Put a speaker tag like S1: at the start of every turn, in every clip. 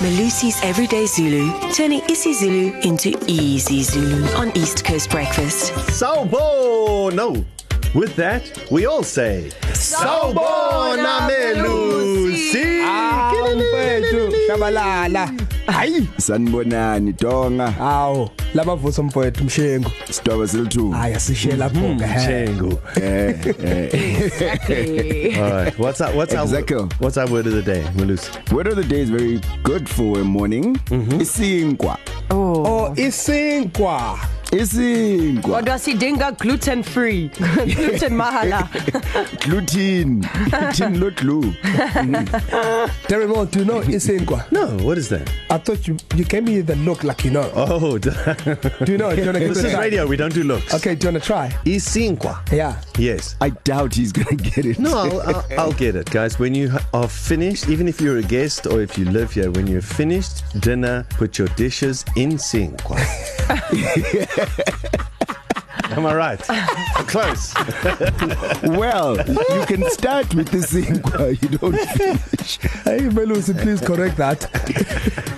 S1: Malusi's Everyday Zulu, turning isiZulu into easy Zulu on East Coast Breakfast.
S2: Sawubona. With that, we all say Sawubona Melusi. Ah.
S3: Hawu mfethu shabalala. Hayi
S4: sanibonani Ah, donga
S3: hawo labavusa mfethu mshengo.
S4: sidwaba silithuba
S3: Hayi asishiye
S2: Hmm,
S3: lapho ke.
S2: Chengu.
S3: Eh,
S2: All right. What's up? What's
S4: Exactly.
S2: our What's our word of the day, Melusi?
S4: word of the day is very good for a morning isinkwa
S3: Oh isinkwa.
S4: isinkwa
S5: Kodwa sidinga gluten free. gluten mahala.
S4: gluten gluten lo glue
S3: Terrible do you know isinkwa.
S2: No, what is that?
S3: I thought you you gave me the look like you know.
S2: Oh, d-
S3: Do you know? Do you want to give
S2: this
S3: it a
S2: is
S3: try?
S2: radio. We don't do looks.
S3: Okay, do you want to try?
S2: Isinkwa.
S3: Yeah.
S2: Yes.
S4: i doubt he's going to get it
S2: No, I'll, I'll, I'll get it, guys. When you are finished, even if you're a guest or if you live here, when you're finished dinner, put your dishes in sinkwa. Am I right? Close.
S4: well you can start with isinkwa you don't finish
S3: Hey Melusi, please correct that.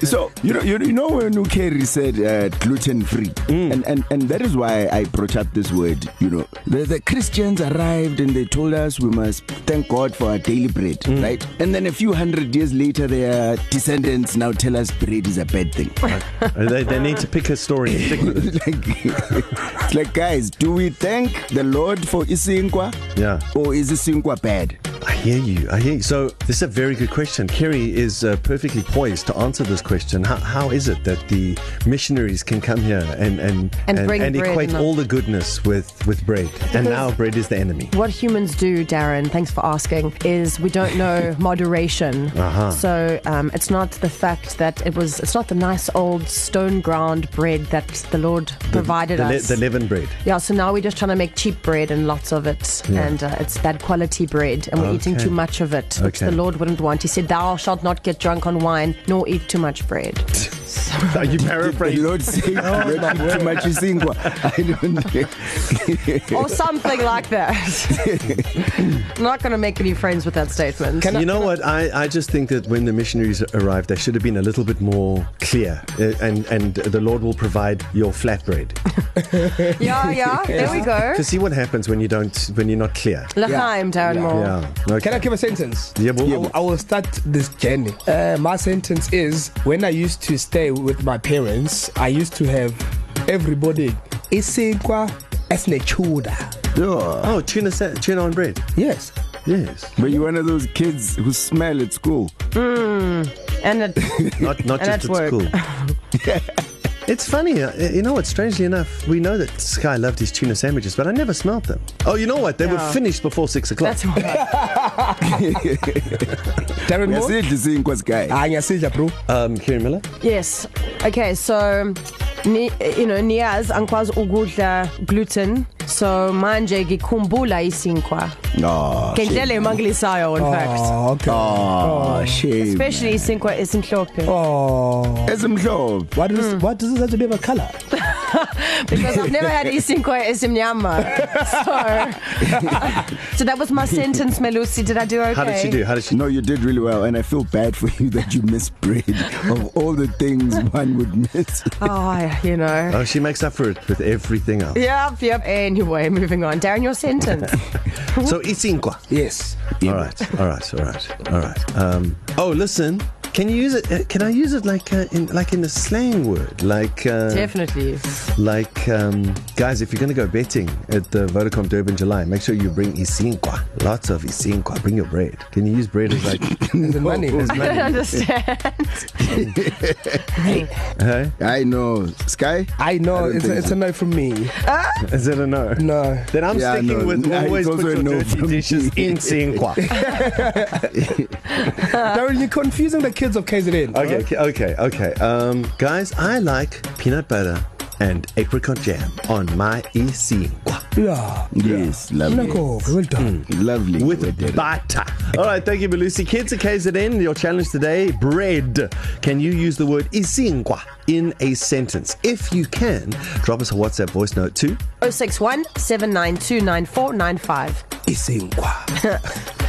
S4: So you know, you, you know when Ukeri said uh, gluten free, mm. and, and and that is why I brought up this word. You know, the, the Christians arrived and they told us we must thank God for our daily bread, mm. right? And then a few hundred years later, their descendants now tell us bread is a bad thing.
S2: they, they need to pick a story and stick with it.
S4: like, it's like guys, do we thank the Lord for isinkwa?
S2: Yeah.
S4: Or is isinkwa bad?
S2: I hear you. I hear you. So this is a very good question. Kerry is uh, perfectly poised to answer this question. How, how is it that the missionaries can come here and and
S5: And bring
S2: and
S5: bread
S2: equate
S5: and all-
S2: all the goodness with with bread, and now bread is the enemy?
S5: What humans do, Darren, thanks for asking, is we don't know moderation. Uh-huh. So um, it's not the fact that it was, it's not the nice old stone ground bread that the Lord provided
S2: The, le-
S5: us.
S2: the leaven bread.
S5: yeah, so now we're just trying to make cheap bread and lots of it. Yeah. And uh, it's bad quality bread. And we're okay. eating
S2: Okay.
S5: too much of it, which
S2: Okay.
S5: the Lord wouldn't want. He said, Thou shalt not get drunk on wine, nor eat too much bread.
S2: Are you
S4: The
S2: paraphrasing?
S4: Lord said, "Don't eat too much isinkwa." I don't.
S5: or something like that. I'm not going to make any friends with that statement.
S2: you know what? I, I just think that when the missionaries arrived, they should have been a little bit more clear. Uh, and, and the Lord will provide your flatbread.
S5: yeah, yeah, there we go.
S2: To see what happens when you don't, when you're not clear.
S5: L'chaim, Darren Moore.
S2: Yeah. Okay.
S3: Can I give a sentence?
S2: Yeah, but-
S3: I, will- I will start this journey. Uh, my sentence is when I used to stay with my parents, I used to have everybody isinkwa esnechuda.
S4: Yeah.
S2: Oh, tuna sa- tuna on bread.
S3: Yes.
S2: Yes.
S4: But you're one of those kids who smell at school.
S5: And it,
S2: Not not
S5: And
S2: just
S5: at
S2: at
S5: work.
S2: school. It's funny, uh, you know what? Strangely enough, we know that Sky loved his tuna sandwiches, but I never smelled them. Oh, you know what? They were
S5: Yeah.
S2: finished before six o'clock.
S5: that's why.
S3: Darren Moore.
S4: Yasidla isinkwa sky.
S3: Ah, ngiyasidla bro.
S2: Um, Kerry Miller.
S5: Yes. Okay, so, ni, you know, Niaz angikwazi ukudla gluten. So manje ngikhumbula isinkwa.
S4: No.
S5: Ngendlela emangilisayo in fact.
S3: Oh, okay.
S4: Oh, shame.
S5: Especially isinkwa esimhlophe.
S3: Oh.
S4: Esimhlobo.
S3: What does mm. what does this have to do with color?
S5: Because I've never had isinkwa esimnyama. So So that was my sentence, Melusi. Did I do okay?
S2: How did she do? How did she?
S4: No, you did really well, and I feel bad for you that you missed bread. of all the things one would miss,
S5: Oh, yeah, you know.
S2: Oh, she makes up for it with everything else.
S5: Yep, yep. Anyway, moving on. Darren, your sentence.
S2: So isinkwa.
S3: Yes.
S2: All right, all right, all right, all right. Um, oh, listen, can you use it? Uh, can I use it like uh, in like in a slang word? Like uh,
S5: Definitely.
S2: like um, guys, if you're gonna go betting at the Vodacom Durban July, make sure you bring isinkwa. Lots of isinkwa. Bring your bread. Can you use bread as like
S3: Is it money?
S2: as
S5: I don't
S2: money?
S5: understand.
S2: hey?
S4: I know. Sky.
S3: I know
S4: I don't
S3: it's a,
S4: think
S3: it's
S4: so.
S3: a no from me.
S2: Is it a no?
S3: No.
S2: Then I'm
S4: Yeah,
S2: sticking
S4: no,
S2: with
S4: no,
S2: always
S4: it's
S2: put
S4: also a
S2: your
S4: no
S2: dirty
S4: from
S2: dishes
S4: me.
S2: in sinkwa.
S3: Darren, you're confusing the kids of KZN.
S2: okay, okay, okay, okay. Um, guys, I like peanut butter and apricot jam on my isinkwa.
S3: Yeah.
S4: Yes, lovely.
S3: Look, well done.
S4: Lovely.
S2: with butter. All right, thank you, Belusi. Kids at KZN, your challenge today bread. Can you use the word isinkwa in a sentence? If you can, drop us a WhatsApp voice note too.
S5: 061 792 9495.
S3: Isinkwa.